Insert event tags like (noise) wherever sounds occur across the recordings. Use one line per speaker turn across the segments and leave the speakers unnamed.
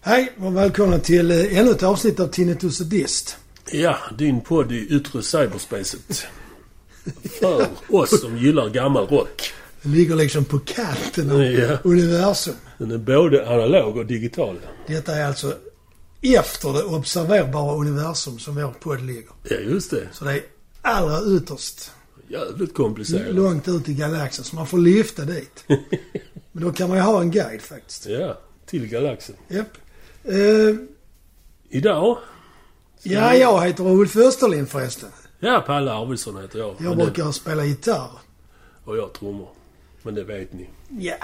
Hej och välkomna till eh, ännu ett avsnitt av Tinnitus och Dist.
Ja, din podd i yttre cyberspacet. För oss som gillar gammal rock.
Den ligger liksom på kanten av
Ja.
universum.
Den är både analog och digital.
Detta är alltså efter det observerbara universum som vår podd ligger.
Ja, just det.
Så det är allra ytterst.
Jävligt komplicerat.
Långt ut i galaxen. Så man får lyfta dit. Men då kan man ju ha en guide faktiskt.
Ja, till galaxen.
Japp. Eh,
Idag,
ja, jag heter Ulf Österlind förresten.
ja, Palle Arvidsson heter jag.
Jag
Men det-
brukar spela gitarr.
Och jag trummor. Men det vet ni.
Ja.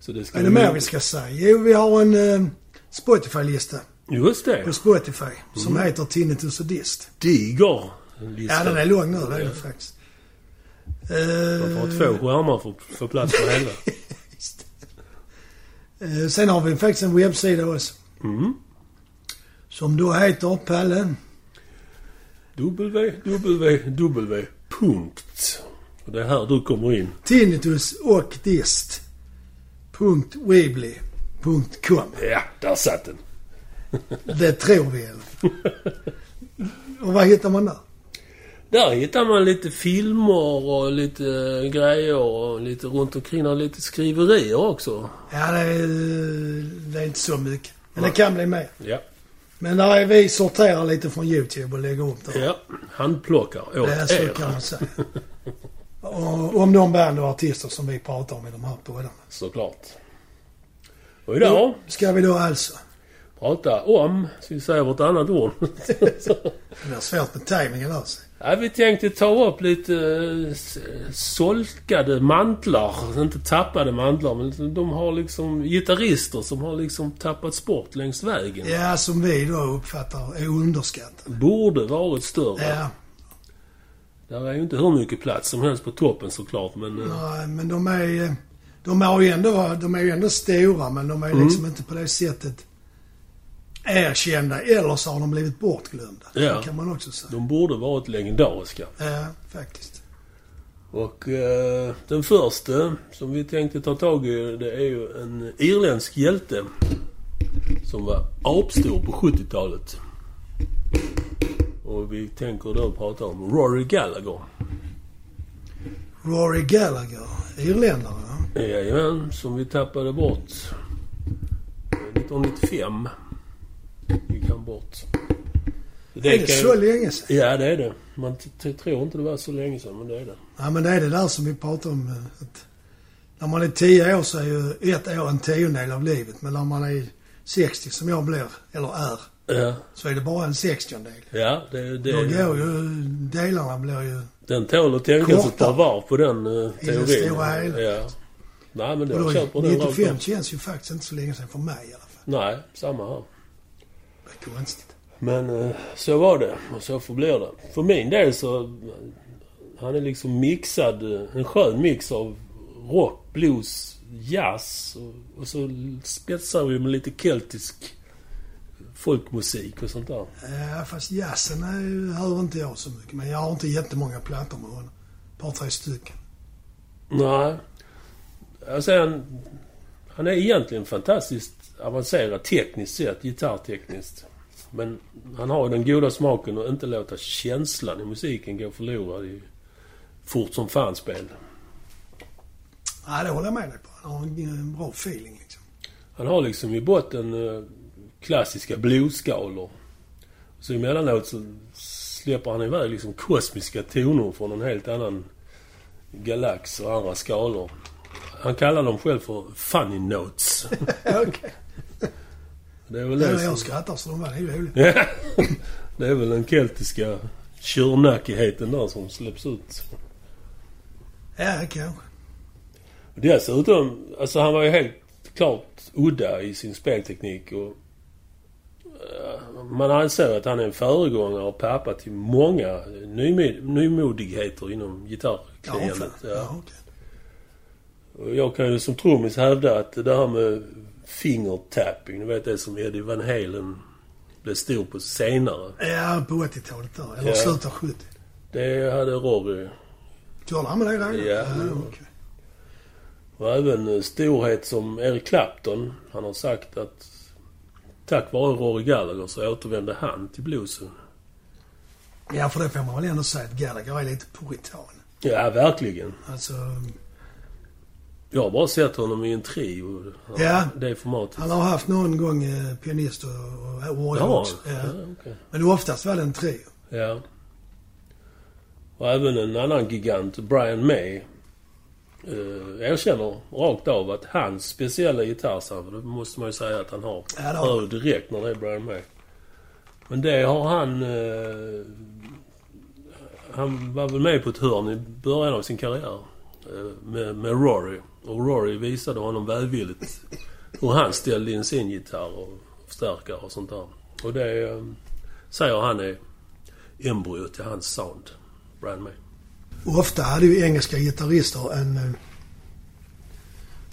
Så det ska
Vad är det
ni-
mer vi ska säga? Jo, vi har en eh, Spotify-lista.
Just
på
det.
Spotify som heter Tinnitus och Dist.
Diger.
Ja, den är lång nu. Det är den faktiskt.
Man får
Eh,
två skärmar för att få plats med hela.
eh, sen har vi faktiskt en webbsida också.
Mm.
Som då heter Palle.
www. Punkt. Och det är här du kommer in.
Tinnitus och Dist. Punkt Weebly. Punkt com.
Ja, där satt den.
Det tror vi. Och vad hittar man där?
Där hittar man lite filmer och lite eh, grejer och lite runt omkring och lite skriverier också.
Ja, det är, det är inte så mycket. Men det kan bli mer.
Ja.
Men där är vi sorterar lite från YouTube och lägger upp där.
Ja, handplockar åt
Det är så
er.
kan man säga. Och, om de band och artister som vi pratar om i de här poddarna.
Såklart. Och idag
Ska vi då alltså...
prata om, ska vi säga vårt
(laughs)
annat ord?
Det blir svårt med tajmingen alltså.
ja, vi tänkte ta upp lite eh, s- solkade mantlar. Inte tappade mantlar, men de har liksom gitarrister som har liksom tappats bort längs vägen.
Ja, som vi då uppfattar är underskattat.
Borde varit större.
Ja,
Där är ju inte hur mycket plats som helst på toppen såklart, men... eh,
nej, men de är... eh, De är, ju ändå, de är ju ändå stora men de är
Mm.
liksom inte på det sättet erkända. Eller så har de blivit bortglömda.
Ja.
Det kan man också säga.
De borde varit legendariska.
Ja, faktiskt.
Och eh, den första som vi tänkte ta tag i det är ju en irländsk hjälte. Som var apstor på 70-talet. Och vi tänker då prata om Rory Gallagher.
Rory Gallagher, irländare. va?
Jajamän, som vi tappade bort 1995. Gick han bort.
Är det
kan-
så länge sedan?
Ja, det är det. Man t- t- tror inte det var så länge sedan, men det är det.
Ja men det är det där som vi pratar om. eh, Att när man är 10 år så är ju ett år en tiondel av livet. Men när man är 60 som jag blir, eller är,
Ja,
så är det bara en sextiondel.
ja det, det
Då går ju delarna blir ju...
Den tål att tänkas ett
Korta.
par varv på den uh,
I det
teorin.
stora hela.
Ja. Nej, men
och
jag
Då,
köper den rakt av.
95 känns ju faktiskt inte så länge sedan för mig i alla fall.
Nej, samma här.
Det är konstigt.
Men eh, så var det och så förblir det. För min del så... eh, Han är liksom mixad. eh, En skön mix av rock, blues, jazz och, och så spetsar vi med lite keltisk folkmusik och sånt där.
Ja, fast jazzen är ju- hör inte jag så mycket. Men jag har inte jättemånga plattor med honom. Ett par, tre stycken.
Nej. Alltså han, han är egentligen fantastiskt avancerad tekniskt sett, gitarrtekniskt. Men han har ju den goda smaken att inte låta känslan i musiken gå förlorad i fort som fan spel.
Nej, det håller jag med dig på. Han har en, en bra feeling
(laughs)
liksom.
Han har liksom i botten eh, klassiska bluesskalor. Så emellanåt så släpper han iväg liksom kosmiska toner från en helt annan galax och andra skalor. Han kallar dem själv för funny notes.
Okej.
Det är väl
Det är
det
när jag
som...
skrattar så de var det är ju roligt.
Ja. (laughs) Det är väl den keltiska tjurnackigheten där som släpps ut.
Ja, kanske.
Dessutom, alltså han var ju helt klart udda i sin spelteknik och... eh, Man anser att han är en föregångare och pappa till många nymed- nymodigheter inom
Ja,
gitarrklientet.
fan. ja, okej.
Och Jag kan ju som trummis hävda att det här med fingertapping, du vet det som Eddie Van Halen blev stor på senare.
Ja, på 80-talet där. Eller
Ja.
slutet av 70.
Det hade Robbie
Körde han med det redan?
Ja.
okej.
Och även eh, storhet som Eric Clapton. Han har sagt att Tack vare Rory Gallagher så återvände han till bluesen.
Ja, för det får man väl ändå säga att Gallagher är lite puritan.
Ja, verkligen.
Alltså,
Jag har bara sett honom i en trio.
Ja.
Det formatet.
han har haft någon gång eh, pianist och, och, och
Ja,
också. Ja.
ja, okej.
Men det är oftast väl en trio.
ja. Och även en annan gigant, Brian May, eh, erkänner rakt av att hans speciella gitarrsound, för det måste man ju säga att han har,
Ja, det har
hör ju direkt när det är Brian May. Men det har han... Eh, han var väl med på ett hörn i början av sin karriär eh, med, med Rory. Och Rory visade honom välvilligt hur han ställde in sin gitarr och förstärkare och sånt där. Och det eh, säger han är embryot till hans sound, Brian May.
Och ofta hade ju engelska gitarrister en eh,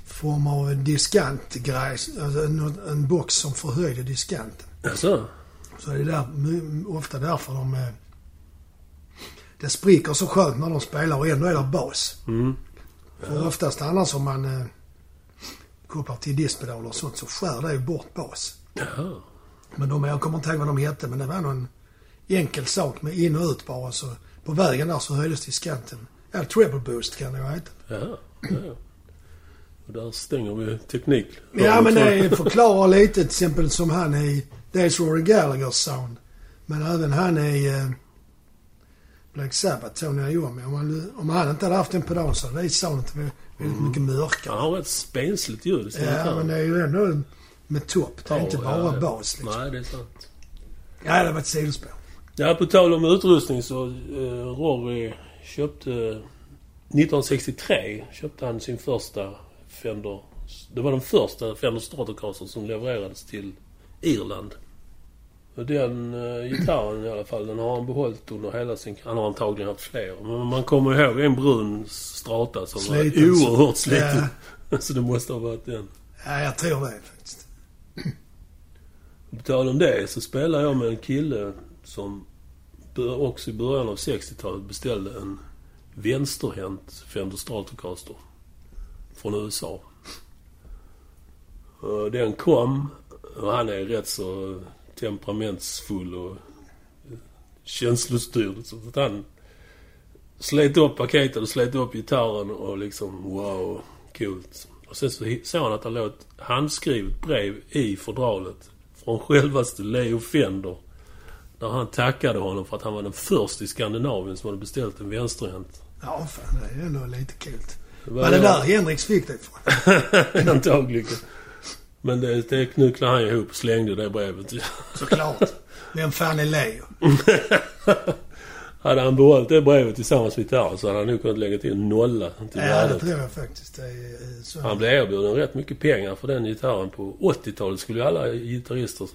form av diskantgrej, alltså en, en box som förhöjde diskanten.
Alltså,
Så det är där, m- ofta därför de... eh, Det spricker så skönt när de spelar och ändå är det bas.
mm.
För oftast annars om man eh, kopplar till dispedaler och sånt så skär det ju bort bas.
Jaha.
Men de, jag kommer inte ihåg vad de hette, men det var någon enkel sak med in och ut bara. Så på vägen där så höjdes diskanten. Ja, treble boost kan det ju heta.
Jaha. Ja, ja. Och där stänger vi teknik.
Ja, men det förklarar lite till exempel som han i... Dels Rory Gallaghers sound, men även han i eh, Black Sabbath, Tony Iommi. Om, han- om han inte hade haft en pedal så hade det soundet varit väldigt mycket mörkare.
Han har rätt spensligt ljud i sin
Mm. Ja,
gitarr.
men det är ju ändå med topp. Det är
Ja,
inte
ja,
bara
ja.
bas liksom.
Nej, det är sant.
Ja, det var ett sidospår.
Ja, på tal om utrustning så eh, Rory köpte... 1963 köpte han sin första Fender... Det var den första Fender Stratocaster som levererades till Irland. Och den eh, gitarren i alla fall, den har han behållit under hela sin... Han har antagligen haft fler. Men man kommer ihåg en brun Strata som
Sliten.
var oerhört sliten. (laughs) så det måste ha varit den.
Ja, jag tror det faktiskt.
På tal om det så spelade jag med en kille som bör- också i början av 60-talet beställde en vänsterhänt Fender Stratocaster från USA. Och Den kom och han är rätt så temperamentsfull och känslostyrd. Så att han slet upp paketet och slet upp gitarren och liksom wow, coolt. Och sen så hi- såg han att det låg ett handskrivet brev i fodralet från självaste Leo Fender. Där han tackade honom för att han var den första i Skandinavien som hade beställt en vänsterhänt. (laughs)
Ja, fan, det är ju ändå lite kul.
Det
Var det där Henriks fick det (laughs) ifrån?
Antagligen. Men det, det knucklade han ihop och slängde det brevet.
Såklart. Vem fan är Leo?
hade han behållit det brevet tillsammans med gitarren så hade han nog kunnat lägga till en nolla till
Ja, det
värdet.
tror jag faktiskt. Det är eh, så.
Han blev erbjuden rätt mycket pengar för den gitarren. På 80-talet skulle ju alla gitarrister,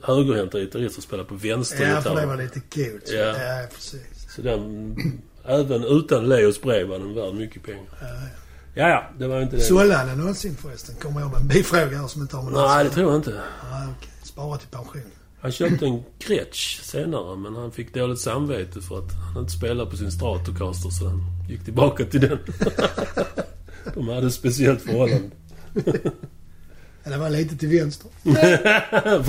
högerhänta gitarrister spela på
Ja, för det var
vänstergitarren.
lite kul. så-
Ja.
ja precis.
Så den, även utan Leos brev var den värd mycket pengar.
Ja, ja.
Ja, ja, det var inte det.
Sålde han den någonsin förresten? Kommer jag med en bifråga här som inte har med
Nej, det tror jag inte.
Nej, okej. Spara till pension.
Han köpte en Gretsch senare, men han fick dåligt samvete för att han inte spelade på sin Stratocaster, så han gick tillbaka till den. (laughs) De hade ett speciellt förhållande.
Ja, det var lite till vänster.
Eh,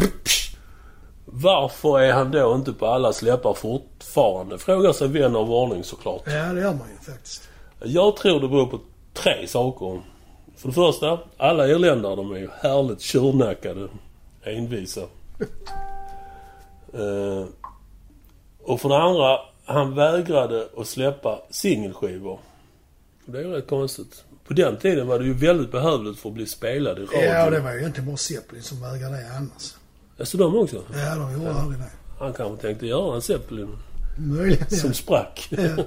Varför är han då inte på alla släppar fortfarande? Frågar sig vän av ordning såklart.
Ja, det gör man ju faktiskt.
Jag tror det beror på tre saker. För det första, alla irländare de är ju härligt tjurnackade. Envisa. Eh, och för det andra, han vägrade att släppa singelskivor. Det är ju rätt konstigt. På den tiden var det ju väldigt behövligt för att bli spelad i radion.
Ja, och det var ju inte bara Zeppelin som vägrade det annars.
Alltså de också?
Ja, de gjorde aldrig det.
Han kanske tänkte göra en Zeppelin
Möjligen. ja.
(laughs) som sprack.
Ja.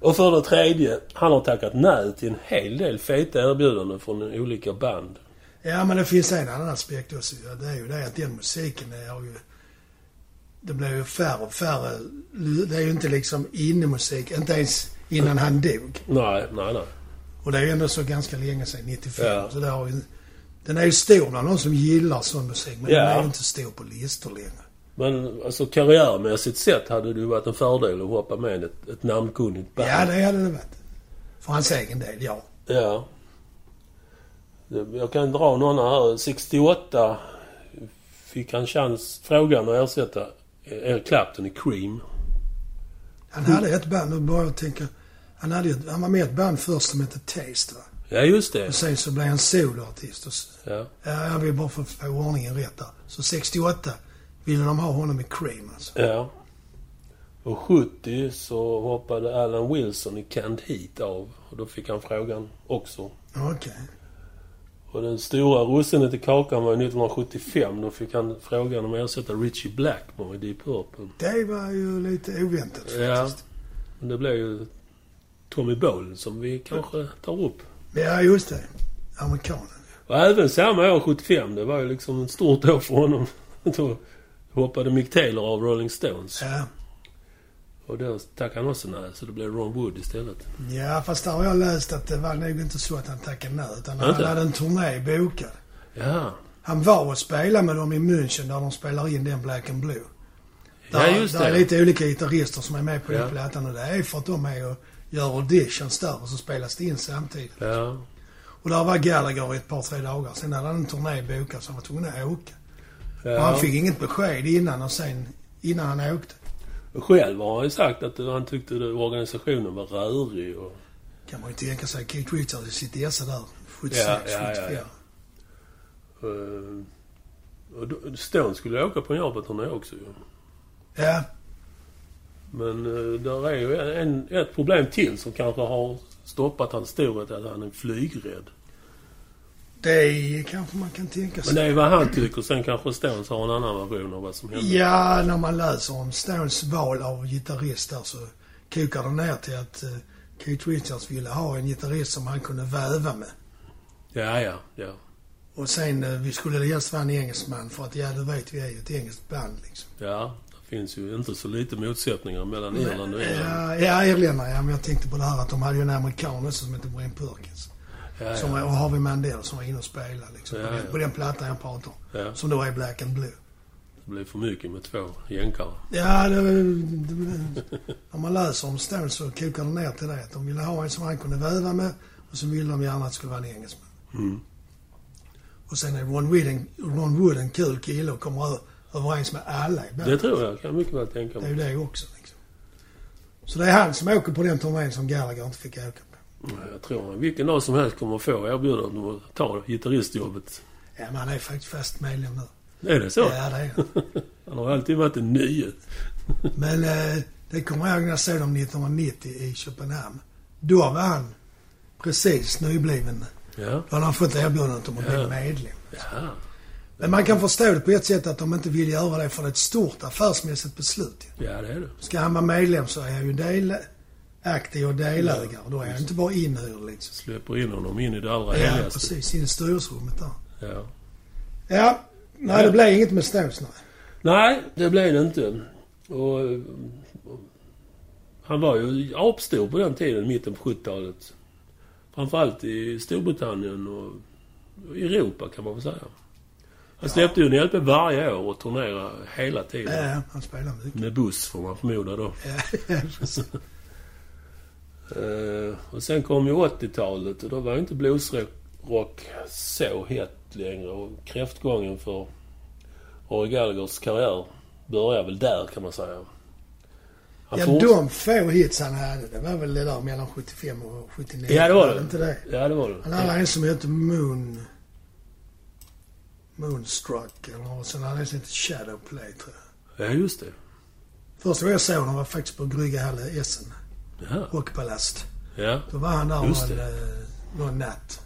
Och för det tredje, han har tackat nej till en hel del feta erbjudanden från olika band.
Ja, men det finns en annan aspekt också. Ja, Det är ju det att den musiken är ju... Det blir ju färre och färre. Det är ju inte liksom innemusik, inte ens innan han dog.
Nej, nej, nej.
Och det är ju ändå så ganska länge sedan, 95.
Ja.
Så det har ju, den är ju stor bland någon som gillar sån musik, men
Ja.
den är ju inte stor på listor längre.
Men alltså karriärmässigt sett hade det ju varit en fördel att hoppa med i ett, ett namnkunnigt band.
Ja, det hade det varit. För hans egen del, ja.
Ja. Jag kan dra några här. 68 fick han chans, frågan att ersätta Eric Clapton i Cream.
Han
Mm.
hade ett band, nu börjar jag tänka. Han, hade, ett- han var med i ett band först som hette Taste va?
Ja, just det.
Och sen så blev han soloartist. Och, s-
Ja.
ja, jag vill bara få, få ordningen rätt där. Så 68 ville de ha honom i Cream alltså.
ja. Och 70 så hoppade Alan Wilson i Canned Heat av. Och då fick han frågan också.
Okej.
Och den stora russinet i kakan var ju 1975. Då fick han frågan om att ersätta Richie Blackmore i Deep Purple.
Det var ju lite oväntat faktiskt.
Ja. Men det blev ju Tommy Bolin som vi kanske tar upp.
Ja, just det. Amerikanen.
Och även samma år, 75, det var ju liksom ett stort år för honom. (laughs) Då hoppade Mick Taylor av Rolling Stones.
Ja.
Och då tackade han också nej, så det blev Ron Wood istället.
ja, fast där har jag läst att det var nog inte så att han tackade nej. Utan han
Inte?
hade en turné bokad.
Ja,
Han var och spelade med dem i München där de spelar in den Black and Blue.
ja
Där,
just
där är
det.
lite olika gitarrister som är med på
Ja.
den plattan och det är för att de är och gör auditions där och så spelas det in samtidigt.
Ja.
Och där var Gallagher i ett par, tre dagar. Sen hade han en turné bokad så han var tvungen att åka. Och han
ja.
fick inget besked innan och sen innan han åkte.
Själv har han ju sagt att han tyckte det- organisationen var rörig och...
Kan man ju tänka sig Keith Richards i sitt esse där. 76,
Ja,
75.
ja, ja, ja. Uh, och då- Stone skulle åka på en Japan-turné också ju.
Ja,
Men uh, där är ju en, ett problem till som kanske har stoppat hans storhet, att han är flygrädd.
det kanske man kan tänka sig.
Men det är vad han tycker. Sen kanske Stones har en annan version av vad som hände.
Ja, när man läser om Stones val av gitarrist där så kokar det ner till att eh, Keith Richards ville ha en gitarrist som han kunde väva med.
Ja, ja, ja.
Och sen, eh, vi skulle helst vara en engelsman för att ja, du vet, vi är ju ett engelskt band liksom.
Ja, det finns ju inte så lite motsättningar mellan Irland och England.
Ja, ja irländare ja, men jag tänkte på det här att de hade ju en amerikan också som hette Brian Perkins.
Ja,
Som,
ja,
och Harvey Mandel som var inne och spelade liksom.
Ja,
på, den,
ja.
på den plattan jag pratar om.
ja.
Som då är Black and Blue.
Det blir för mycket med två jänkare.
Ja, det, det, när man läser om Stones så kokar det ner till det. Att de ville ha en som han kunde väva med och så ville de gärna att det skulle vara en engelsman.
Mm.
Och sen är Ron Wood en, Ron Wood en kul kille och kommer ö- överens med alla i bandet.
Det tror jag. Kan jag mycket väl tänka
Det är ju
mig.
det också liksom. Så det är han som åker på den turnén som Gallagher inte fick åka på.
Ja, Jag tror han vilken dag som helst kommer att få erbjudande om att ta gitarristjobbet.
Ja, men han är faktiskt fast medlem nu.
Är det så?
Ja, det är han.
(laughs) Han har alltid varit en nyhet.
Men eh, det kommer jag ihåg när jag såg dem 1990 i Köpenhamn. Då var han precis nybliven.
Ja.
Då hade han fått erbjudandet om att bli
Ja.
medlem.
ja.
Men man kan förstå det på ett sätt att de inte vill göra det för det är ett stort affärsmässigt beslut. ju.
Ja, det är det.
Ska han vara medlem så är han ju delaktig och delägare. Då är han inte bara inhyrd liksom.
Släpper in honom in i det allra
Ja,
heligaste.
precis. In i styrelserummet där.
Ja.
Ja, nej det blev inget med Stones nej.
Nej, det blev det inte. Och, eh, han var ju apstor på den tiden, mitten på 70-talet. Framförallt i Storbritannien och och i Europa kan man väl säga. Han släppte ju en LP varje år och turnerade hela tiden.
Ja, han spelar mycket.
Med buss får man förmoda då.
Ja, precis.
Eh, och sen kom ju 80-talet och då var ju inte bluesrock rock så hett längre. Och kräftgången för Rory Gallaghers karriär börjar väl där kan man säga. Han
ja,
forts-
de få hits han hade, det var väl det där mellan 75 och 79.
Ja, det var det.
Inte det?
Ja, det var det.
Han hade en som hette Moon... Moonstruck eller något. Sen hade han en som hette Shadowplay tror jag.
Ja, just det.
Första gången jag såg honom var faktiskt på Bryggehalle i Essen.
Ja.
Rockpalast.
ja.
Då var han där
Just
någon,
det.
eh, någon natt.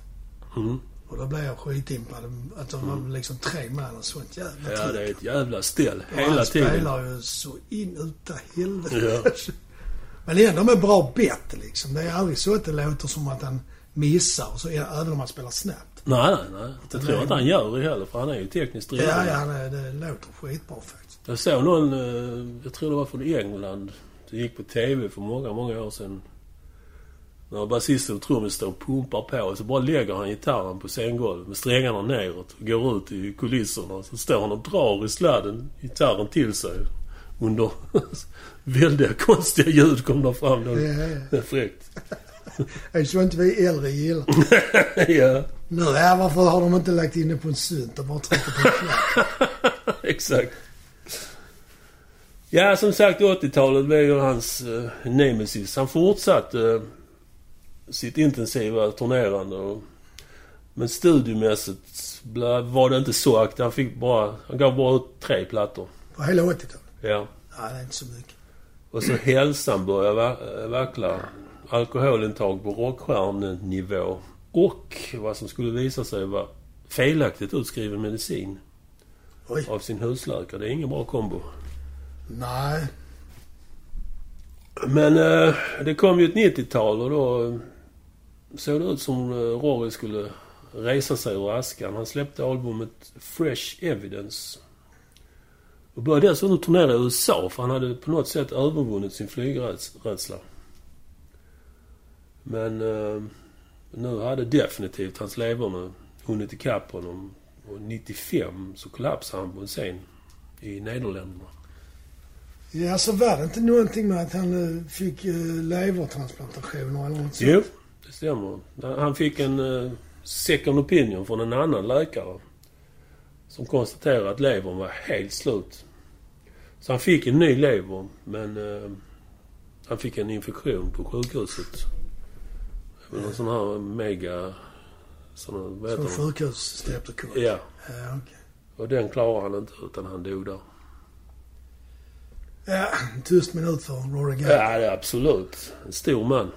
Mm.
Och då blev jag skitimpad. Att de var liksom tre man och sånt jävla
ja,
tryck.
det är ett jävla ställ
Och
hela
han
tiden.
spelar ju så in uta helvete. (laughs) Men ändå med bra bett liksom. Det är aldrig så att det låter som att han missar. Och så, även om han spelar snabbt.
Nej, nej, nej. Det tror jag inte han gör det heller, för han är ju tekniskt
Ja,
driven.
ja, han är- det låter skitbra faktiskt.
Jag såg någon, eh, jag tror det var från England. Det gick på TV för många, många år sedan. När basisten och trummisen står och pumpar på och så bara lägger han gitarren på scengolvet med strängarna neråt. Och går ut i kulisserna. och Så står han och drar i sladden gitarren till sig. Under (laughs) väldiga konstiga ljud kom där fram då.
Ja, ja.
Det är fräckt. (laughs)
Det är så inte vi äldre gillar.
ja.
Nu, ja, varför har de inte lagt in det på en synt och bara tryckt på en knapp?
(laughs) exakt. Ja, som sagt 80-talet blev ju hans eh, nemesis. Han fortsatte eh, sitt intensiva turnerande. Och, men studiomässigt bla- var det inte så aktivt. Han fick bara... Han gav bara ut tre plattor.
På hela 80-talet?
Ja.
Nej, det är inte så mycket.
Och så hälsan började va- eh, vackla. Alkoholintag på rockstjärnenivå. Och vad som skulle visa sig vara felaktigt utskriven medicin
Oj.
av sin husläkare. Det är ingen bra kombo.
Nej.
Men eh, det kom ju ett 90-tal och då eh, såg det ut som eh, Rory skulle resa sig ur askan. Han släppte albumet Fresh Evidence. Och började dessutom turnera i USA för han hade på något sätt övervunnit sin flygrädsla. Men eh, nu hade definitivt hans leverne hunnit ikapp honom. Och 95 så kollapsade han på en scen i Nederländerna.
Ja, alltså var det inte någonting med att han eh, fick uh, levertransplantationer eller något sånt?
Jo, det stämmer. Han fick en eh, second opinion från en annan läkare. Som konstaterade att levern var helt slut. Så han fick en ny lever, men eh, han fick en infektion på sjukhuset. Det var Någon sån här mega... Sån, vad
Från
heter
sjukhusstreptokock?
det? Ja,
Ja, okej.
och den klarade han inte utan han dog där.
Ja, en tyst minut för Rory Gale. Ja.
Ja, det är absolut. En stor man.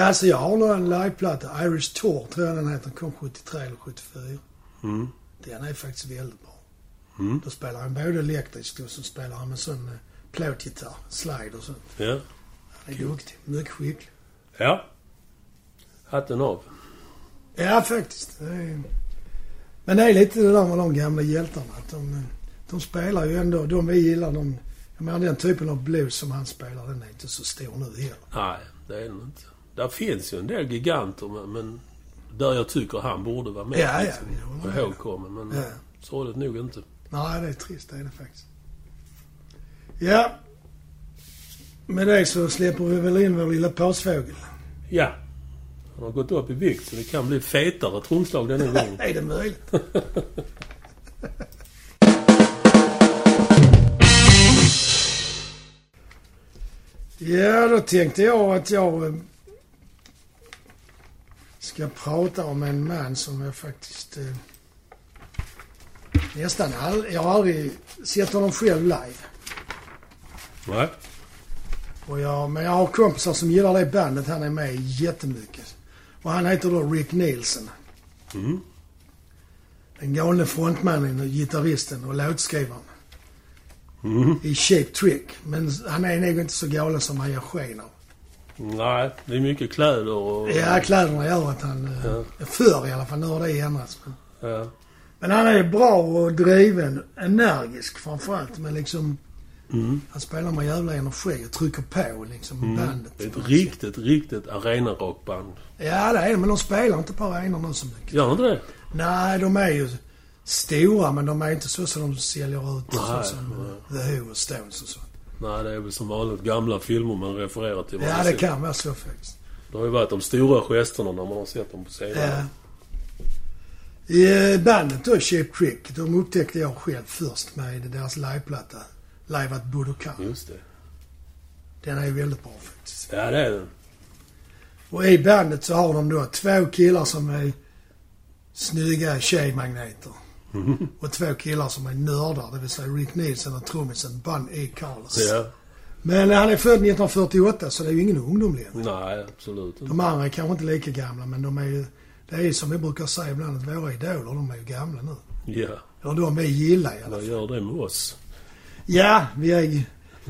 alltså jag har nog en liveplatta. Irish Tour tror jag den heter. Kom 73 eller 74.
Mm.
Den är faktiskt väldigt bra.
Mm.
Då spelar han både elektriskt och så spelar han med sån eh, plåtgitarr, slide och sånt.
Ja.
Han är duktig. Mycket skicklig.
ja. Hatten av.
Ja, faktiskt. Det är... Men det är lite det där med de gamla hjältarna. Att de, de spelar ju ändå, de vi gillar, de, jag menar den typen av blues som han spelar, den är inte så stor nu heller.
Nej, det är den inte. Där finns ju en del giganter, men- men där jag tycker han borde vara med.
Ja, ja,
liksom.
jag håller med.
Ihågkommen, men
Ja.
sorgligt nog inte.
Nej, det är trist, det är det faktiskt. Ja. Med det så släpper vi väl in vår lilla påsfågel.
Ja, han har gått upp i vikt, så det kan bli fetare trumslag denna
(laughs)
gång.
Är det möjligt? ja, då tänkte jag att jag eh, ska prata om en man som jag faktiskt eh, nästan aldrig... Jag har aldrig sett honom själv live.
Nej.
Och jag, men jag har kompisar som gillar det bandet han är med i jättemycket. Och han heter då Rick Nielsen.
Mm.
Den galne frontmannen, och gitarristen och låtskrivaren
Mm.
i Cheap Trick. Men han är nog inte så galen som han gör sken av.
Nej, det är mycket kläder och...
Ja, kläderna gör att han... eh, Förr i alla fall, nu har det ändrats. Men-
Ja.
Men han är bra och driven, energisk framförallt. Men liksom,
Mm.
han spelar med jävla energi och trycker på liksom bandet.
Det är ett riktigt, riktigt arenarockband.
Ja, det är det. Men de spelar inte på arenor nu så mycket.
Gör inte det?
Nej, de är ju stora men de är inte så som de säljer ut så
Nej,
som eh, The Who och Stones och sånt.
Nej, det är väl som vanligt gamla filmer man refererar till.
Ja, det kan vara så faktiskt.
det har ju varit de stora gesterna när man har sett dem på scenen.
Ja. I eh, bandet då, Cheap Trick, de upptäckte jag själv först med deras liveplatta. Live at Budokan.
Just det.
Den är ju väldigt bra faktiskt.
Ja, det är den.
Och i bandet så har de då två killar som är snygga tjejmagneter. Och två killar som är nördar, det vill säga Rick Nielsen och trummisen Bun E. Carlos.
Ja.
Men han är född 1948 så det är ju ingen ungdom längre.
Nej, absolut inte.
De andra är kanske inte lika gamla men de är ju... Det är ju som vi brukar säga ibland att våra idoler de är ju gamla nu.
Ja,
Eller de vi gillar i alla fall.
vad gör det med oss?
Ja, vi är ju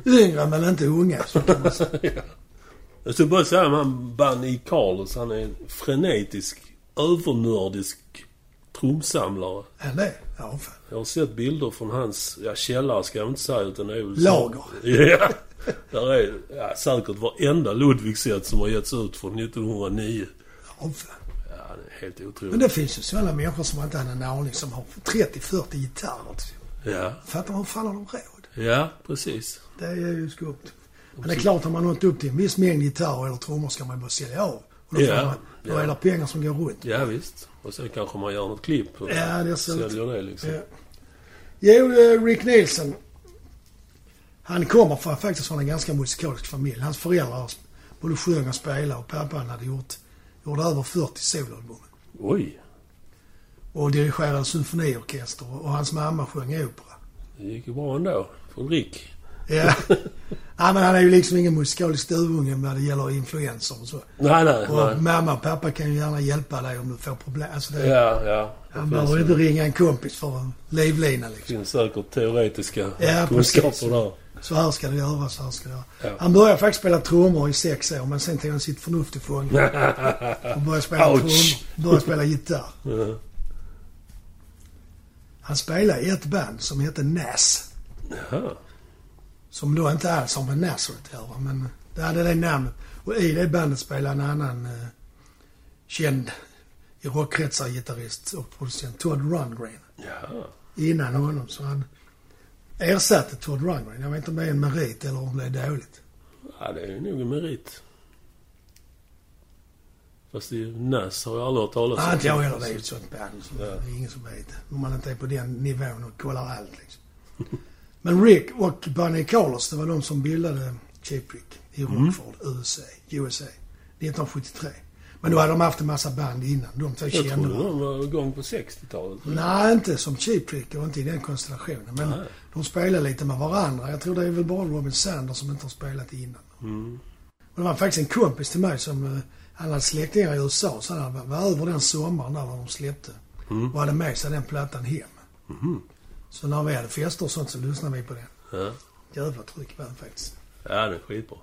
yngre men inte unga. Så kan man säga.
Jag skulle bara säga om han Bunny Carlos, han är en frenetisk, övernördisk trumsamlare.
Än det, ja fan.
Jag har sett bilder från hans, ja källare ska jag inte säga utan det är väl...
Lager.
(laughs) Ja. Där är ja, säkert varenda Ludwigset som har getts ut från 1909.
Ja, fan.
Ja, han är helt
Men
otrolig.
det finns ju sådana människor som inte hade en aning som har 30-40 gitarrer. till exempel.
Ja,
Fattar man hur fan har de råd?
ja precis.
Det är ju skumt. Men det är klart, har man nått upp till en viss mängd gitarrer eller trummor ska man bara sälja av. Och då, får
Ja,
man, då
ja.
är det pengar som går runt.
Ja, visst. Och sen kanske man gör något klipp och
Ja, det är så.
säljer det liksom.
Ja. Jo, eh, Rick Nielsen. Han kommer från, faktiskt från en ganska musikalisk familj. Hans föräldrar både sjöng och spelade och pappan hade gjort, gjort över 40 soloalbum.
Oj,
Och dirigerade symfoniorkester och hans mamma sjöng opera.
det gick ju bra ändå. Från Rick.
Ja.
(laughs)
ja, men han är ju liksom ingen musikalisk duvunge när det gäller influenser och så.
Nej, nej,
Och
nej.
mamma och pappa kan ju gärna hjälpa dig om du får problem. Alltså det,
Ja, ja.
Han
Det
behöver
finns,
inte ringa en kompis för en livlina liksom.
finns säkert teoretiska
Ja, precis.
kunskaper där.
Så här ska det göra, så här ska det göra.
Ja.
Han började faktiskt spela trummor i sex år, men sen tog han sitt förnuft i
(laughs)
fånga. Och började spela
Ouch.
trummor. Började spela gitarr.
Ja.
Han spelade i ett band som hette Nas.
Jaha.
Som då inte alls har med Nazareth att göra, men det hade det namnet. Och i det bandet spelade en annan eh, känd i rockkretsar gitarrist och producent, Todd Rundgren.
Jaha.
Innan honom, så han ersatte Todd Rundgren. Jag vet inte om det är en merit eller om det är dåligt.
Ja, det är ju nog en merit. Fast det är ju Nas har jag aldrig hört talas
Nej, inte jag heller. Det är ju ett sånt band. Så
Ja.
Det är ingen som vet. Om man inte är på den nivån och kollar allt liksom. (laughs) Men Rick och Bunny Carlos, det var de som bildade Cheap Trick i
Mm.
Rockford, USA, USA 1973. Men då hade de haft en massa band innan. De två
Jag
kände
trodde
varandra.
de var igång på 60-talet.
Nej, inte som Cheap Trick och inte i den konstellationen. Men
Nej.
de spelade lite med varandra. Jag tror det är väl bara Robin Sanders som inte har spelat innan.
Mm.
Och det var faktiskt en kompis till mig som eh, han hade släktingar i USA. Så han var, var över den sommaren där när de släppte.
Mm.
Och hade med sig den plattan hem.
Mhm.
Så när vi hade fester och sånt så lyssnade vi på den.
Ja.
Jävla tryckband faktiskt.
ja, det är skitbra.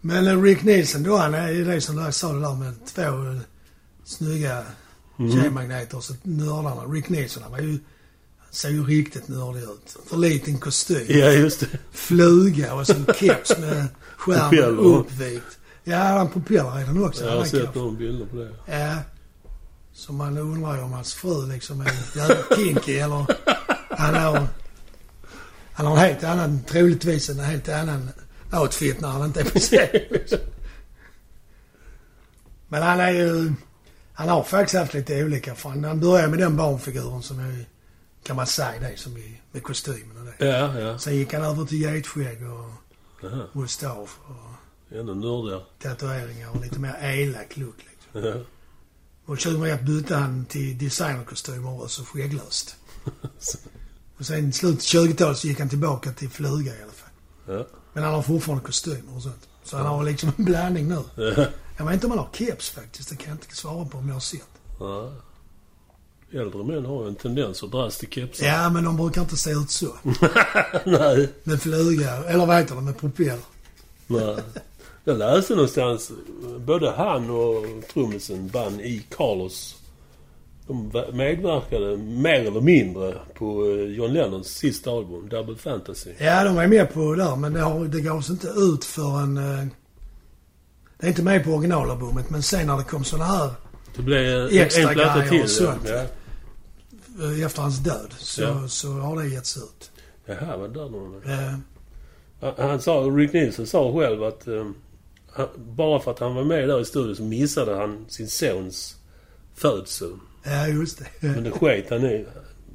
Men eh, Rick Nielsen då, han är ju det som jag sa det där med två eh, snygga
Mm.
tjejmagneter och så nördarna. Rick Nielsen, han var ju... Han ser ju riktigt nördig ut. För liten kostym.
Ja, just det.
Fluga och så en keps med skärmen
(laughs) Propeller.
uppvikt. Ja, han har en propeller i den också.
Jag
Han
har
har keps.
sett några bilder
(laughs)
på det.
Ja. Så man undrar ju om hans fru liksom är jävligt kinky eller han har, han har en helt annan, troligtvis en helt annan outfit när han inte är på scen. Men han är ju, han har faktiskt haft lite olika. För han han började med den barnfiguren som är, kan man säga det, som i, med kostymen och det.
Ja, ja.
Sen gick han över till getskägg och
Jaha.
mustasch och
Ännu nördigare.
tatueringar och lite mer elak look liksom.
Ja.
Och 2001 bytte han till designerkostymer och så skägglöst. Och sen i slutet av 20-talet så gick han tillbaka till fluga i alla fall.
Ja.
Men han har fortfarande kostymer och sånt. Så han har liksom en blandning nu.
(laughs) Ja.
Jag vet inte om han har keps faktiskt. Det kan jag inte svara på om jag har sett.
Ja. Äldre män har ju en tendens att dras till kepsar.
Ja, men de brukar inte se ut så.
(laughs) Nej.
Med fluga, eller vad heter det, med propeller.
Nej. Jag läste någonstans, både han och trummisen Ban E. Carlos, de va- medverkade mer eller mindre på eh, John Lennons sista album, Double Fantasy.
Ja, de var med på det där, men det, har, det gavs inte ut förrän... Eh, det är inte med på originalalbumet, men sen när det kom såna här
Det blev eh,
Extra
en platta
grejer
till.
och sånt.
Ja.
eh, efter hans död så,
Ja.
så har det getts ut.
Jaha, vad där någon...
Eh,
Han- Han sa, Rick Nielsen sa själv att eh, han, bara för att han var med där i studion så missade han sin sons födsel.
Ja, just det.
Men det sket han i.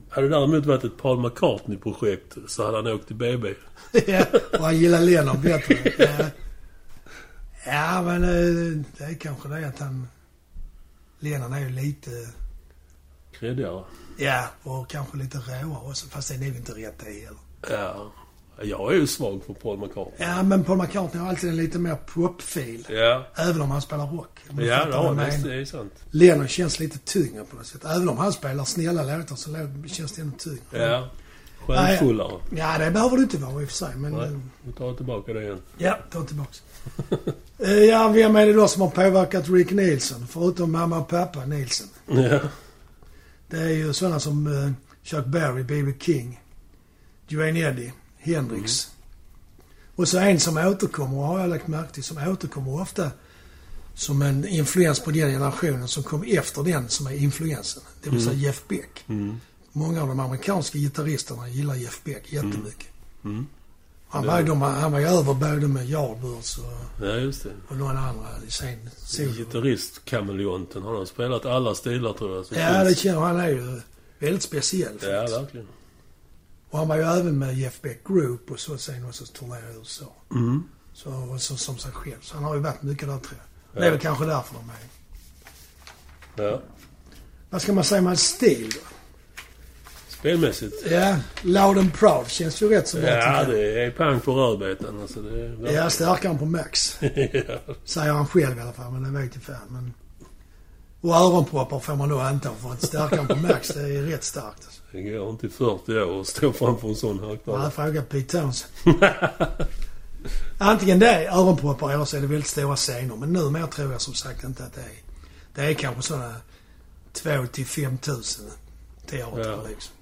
Hade det däremot varit ett Paul McCartney-projekt så hade han åkt till BB.
Ja, och han gillar Lennon bättre. Ja.
(laughs)
Ja, men eh, det är kanske det att han... Lennon är ju lite...
Kreddigare.
Ja, och kanske lite råare också. Fast det är nog inte rätt det heller.
Ja. Jag är ju svag för Paul McCartney.
Ja, men Paul McCartney har alltid en lite mer popfil.
Ja.
Även om han spelar rock. Om du
Ja,
fattar
det
vad jag
har han.
menar.
Det är sant.
Lennon känns lite tyngre på något sätt. Även om han spelar snälla låtar så lå- känns det ändå tyngre.
Ja. Självfullare.
Ja, det behöver du inte vara i och för sig. Men,
Nej,
eh,
nu tar jag tillbaka det igen.
Ja, ta tillbaks. (laughs) Eh, ja, vem är det då som har påverkat Rick Nielsen? Förutom mamma och pappa Nielsen.
Ja.
Det är ju sådana som eh, Chuck Berry, B.B. King, Duane Eddy, Hendrix.
Mm.
Och så en som återkommer, har jag lagt märke till, som återkommer ofta som en influens på den generationen som kom efter den som är influensen. Det vill säga
Mm.
Jeff Beck. Många av de amerikanska gitarristerna gillar Jeff Beck jättemycket.
Mm.
Han, var, ju- de, han var ju över både med Yardbirds och
Ja, just det.
och någon annan i sen solo.
Gitarrist-kameleonten. Han har spelat alla stilar tror jag. som
Ja, det
finns.
känner han är ju väldigt speciell
Ja,
faktiskt.
verkligen.
Och han var ju även med Jeff Beck Group och så sen och så turnerade i USA.
Mm.
Så, och så, som sig själv. Så han har ju varit mycket där tror jag.
Ja.
Det är väl kanske därför de är
Ja.
Vad ska man säga om hans stil då?
Spelmässigt.
Ja, Loud and Proud känns ju rätt så bra
Ja,
tycker
det är pang på rödbetan. Alltså, det är...
jag. Ja, starkare än på Max.
(laughs) ja.
Säger han själv i alla fall, men det vet ju fan. Men... Och öronproppar får man nog anta för att starkare än på Max, det är rätt starkt. Alltså.
Det går inte i 40 år och stå framför en sån högtalare.
Man frågar Pete Townsend. (laughs) Antingen det är öronproppar eller så är det väldigt stora scener. Men numera tror jag som sagt inte att det är. Det är kanske sådana 2 till 5 tusen teatrar
Ja.
liksom.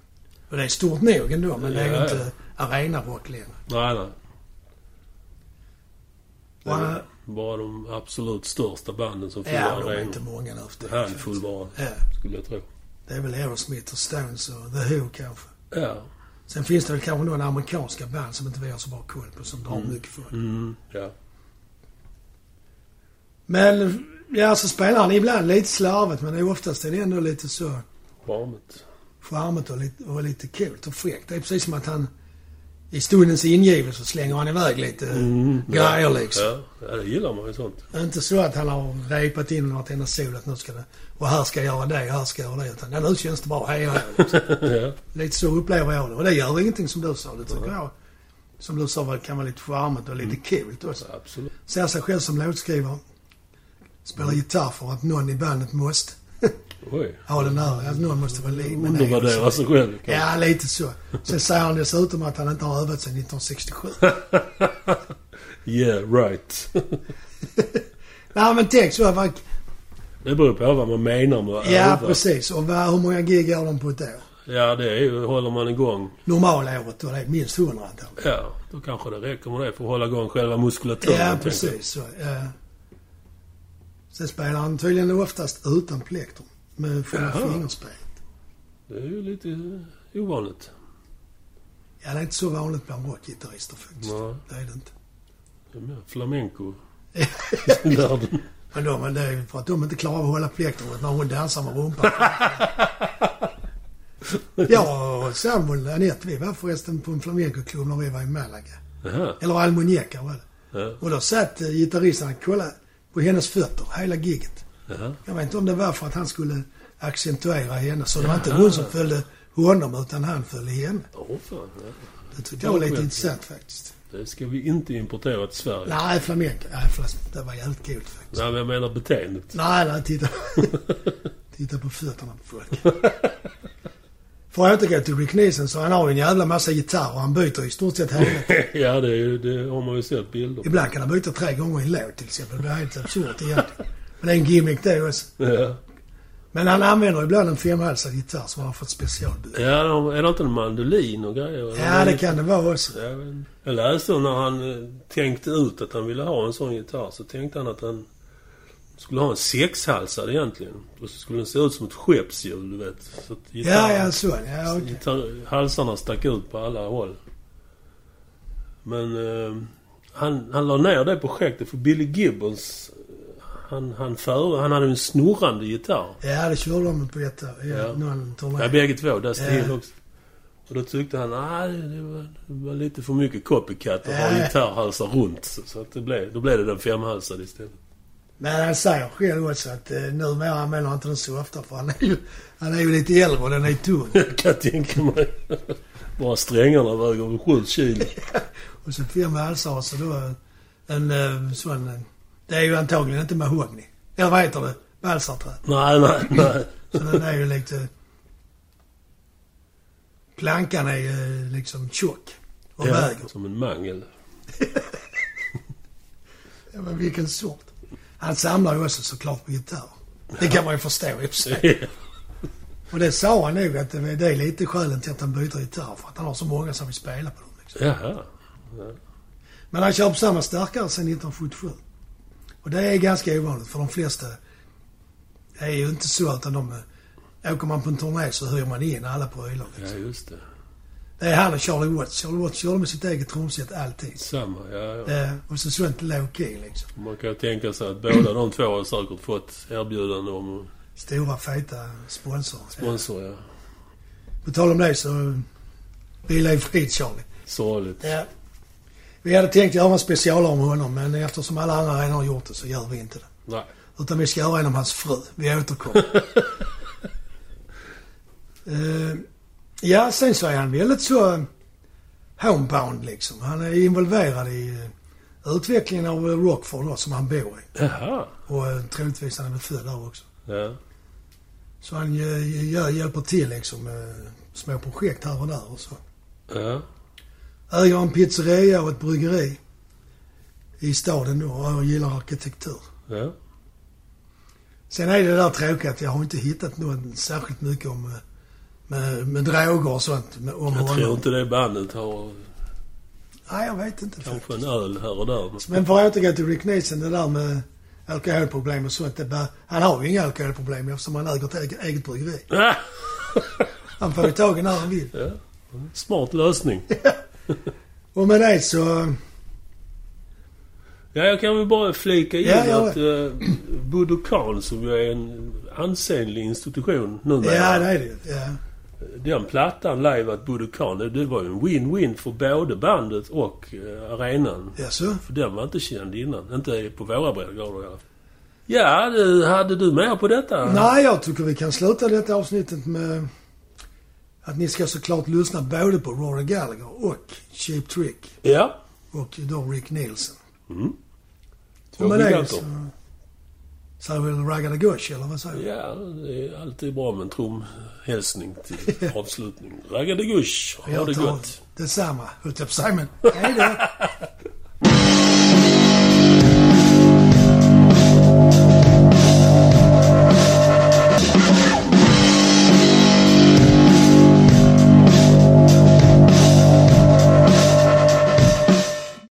Och det är stort nog ändå, men det är
Ja, ja.
ju inte arenarock längre.
Nej, nej. Det
Och,
är bara de absolut största banden som fyller
Ja, de är inte
arenor.
många nu för
En
tiden,
handfull
faktiskt.
bara,
Ja,
skulle jag tro.
det är väl Aerosmith och Stones och The Who kanske.
Ja.
Sen finns det väl kanske några amerikanska band som inte vi har så bra koll på som drar mycket folk.
Mm, ja.
Men, ja så spelar han ibland lite slarvigt men det är oftast är det ändå lite så
Varmt.
charmigt och lite, och lite kul och fräckt. Det är precis som att han i stundens ingivelse slänger han iväg lite
Mm,
grejer
ja.
liksom.
Ja. ja, det gillar man
(laughs)
ju sånt.
Inte så att han har repat in vartenda sol att nu ska det... Och här ska jag göra det, här ska jag göra det. Utan ja, nu känns det bra, hej hej.
(laughs)
Liksom.
ja.
Lite så upplever jag det. Och det gör ingenting som du sa. Det tycker jag, som du sa, var- kan vara lite charmigt och lite
Mm.
kul också.
Absolut.
Ser sig själv som låtskrivare. Spelar gitarr för att någon i bandet måste
Oj.
ha den här. Att någon måste vara lite... men det alltså. är ju så.
Undervärdera sig själv. kanske.
Ja, lite så. Sen säger han dessutom att han inte har övat sedan 1967.
Yeah, right.
(laughs) Nej, men tänk så. Vad,
Det beror på vad man menar med
ja,
öva.
precis. Och vad, hur många gig gör de på ett år?
Ja, det är ju, håller man igång.
Normalåret, då är det minst 100 antagligen.
Ja, då kanske det räcker med det för att hålla igång själva muskulaturen.
Ja,
tänker
precis. Så, eh. Sen spelar han tydligen oftast utan plektrum. Med själva
Jaha.
fingerspel.
jag. Det är ju lite eh, ovanligt.
Ja, det är inte så vanligt bland rockgitarrister faktiskt.
Nej.
Det är det inte.
Det är mer
(laughs)
flamenco. Världen.
Men de, men det är ju för att de inte klarar av att hålla plektrumet när hon dansar med rumpan. Jag och sambon Anette, vi var förresten på en flamencoklubb när vi var i Malaga.
Jaha.
Eller Almuñeca var det.
Ja.
Och då satt eh, gitarristen och kollade på hennes fötter hela giget.
Jaha.
Jag vet inte om det var för att han skulle accentuera henne. Så det var inte hon som följde honom utan han följde henne.
Åh, fan. Ja.
Det tyckte jag var lite intressant faktiskt.
Det ska vi inte importera till Sverige.
Nej, flamenco. Nej, flas- det var jävligt kul faktiskt.
Nej, men jag menar beteendet.
Nej, nej, (laughs) titta. titta på fötterna på folk. För att återgå till Rick Nielsen så han har ju en jävla massa gitarrer. Han byter i stort sett (laughs) hela
(laughs) ja, det, är ju- det har man ju sett bilder på.
Ibland kan han byta tre gånger i en låt till exempel. Det är helt absurt egentligen. Men det är en gimmick det också.
Ja.
Men han använder ibland en femhalsad gitarr som han har fått specialbyggd.
Ja, de- är det inte en mandolin och grejer?
Ja, det kan det vara också.
Ja, men Jag läste om när han eh, tänkte ut att han ville ha en sån gitarr så tänkte han att han skulle ha en sexhalsad egentligen. Och så skulle den se ut som ett skeppshjul, du vet. Så att
Ja,
gitarren,
ja, så. Ja, okej.
gitarr, halsarna stack ut på alla håll. Men eh, han, han la ner det projektet för Billy Gibbons eh, han, han, före, han hade ju en snurrande gitarr.
Ja, det körde de på ett ja,
Ja.
någon
Ja,
turné.
bägge två. Där stod
Ja.
också. Och då tyckte han att det, var- det var lite för mycket copycat och ha
Ja.
gitarrhalsar runt. Så så att det blev, då blev det den femhalsade istället. (laughs)
Men han säger själv också att eh, numera använder han inte den så ofta för han är ju, han är ju lite äldre och den är tung.
Jag kan tänka mig. (laughs) Bara strängarna väger väl
(laughs)
sju kilo.
Och så fem halsar och så då en, eh, sån... eh, Det är ju antagligen inte mahogny. Eller vad heter det? Balsarträ.
Nej, nej, nej.
Så den är ju lite... Plankan är ju liksom tjock och
Ja,
väger.
som en mangel.
Ja, men vilken sort. Han samlar ju också såklart på gitarr. Det kan man ju förstå i och för sig. Och det sa han nog att det det är lite skälen till att han byter gitarr. För att han har så många som vill spela på dem. Liksom.
Jaha.
Men han kör på samma starkare sedan 1977. Och det är ganska ovanligt för de flesta är ju inte så utan de... eh, Åker man på en turné så hyr man in alla på hylor.
Ja, just det.
Det är han och Charlie Watts. Charlie Watts körde med sitt eget trumset alltid.
Samma, ja. ja.
Eh, och så sånt low key liksom.
Man kan ju tänka sig att båda de två har säkert fått erbjudande om
Stora feta sponsorer.
sponsor, ja.
På tal om det så Vila i frid Charlie.
Sorgligt.
Ja. Vi hade tänkt göra en specialare om honom men eftersom alla andra redan har gjort det så gör vi inte det.
Nej.
Utan vi ska göra en om hans fru. Vi återkommer. Eh, ja, sen så är han väldigt så eh, homebound liksom. Han är involverad i eh, utvecklingen av eh, Rockford då, som han bor i.
Jaha.
Och eh, troligtvis han är väl född där också.
Ja.
Så han eh, gör, hjälper till liksom med små projekt här och där och så.
Ja.
Äger en pizzeria och ett bryggeri i staden då och gillar arkitektur.
Ja.
Sen är det där tråkiga att jag har inte hittat något särskilt mycket om eh, med, med droger och sånt. Med, om
Jag tror
honom.
inte det bandet har
Nej, jag vet inte
kanske en
faktiskt.
öl här och där.
Men för att återgå till Rick Nielsen, det där med alkoholproblem och sånt. Det bara, han har ju inga alkoholproblem eftersom han äger ett eget, eget bryggeri.
Ah!
Han får ju tag i när han vill.
Ja. Smart lösning.
Och med det så...
Ja, jag kan väl bara flika in
Ja, ja.
att eh, Budokan, som ju är en ansenlig institution numera.
Ja, det är det ju. ja.
Den plattan, Live at Budokan, det, det var ju en win-win för både bandet och eh, arenan.
ja, så.
För den var inte känd innan. Inte på våra breddgrader i alla fall. Ja, du, hade du mer på detta?
Nej, jag tycker vi kan sluta detta avsnittet med att ni ska såklart lyssna både på Rory Gallagher och Cheap Trick.
Ja.
Och då Rick Nielsen.
Två
Och med det
giganter.
så... Så är väl Ragga Gosh eller vad säger du?
Ja, det är alltid bra med en trumhälsning
(laughs)
till avslutning. Raggade gush, ha
Jag
det
tar
gott. (laughs)
Detsamma, höll jag på att säga men... Hej då!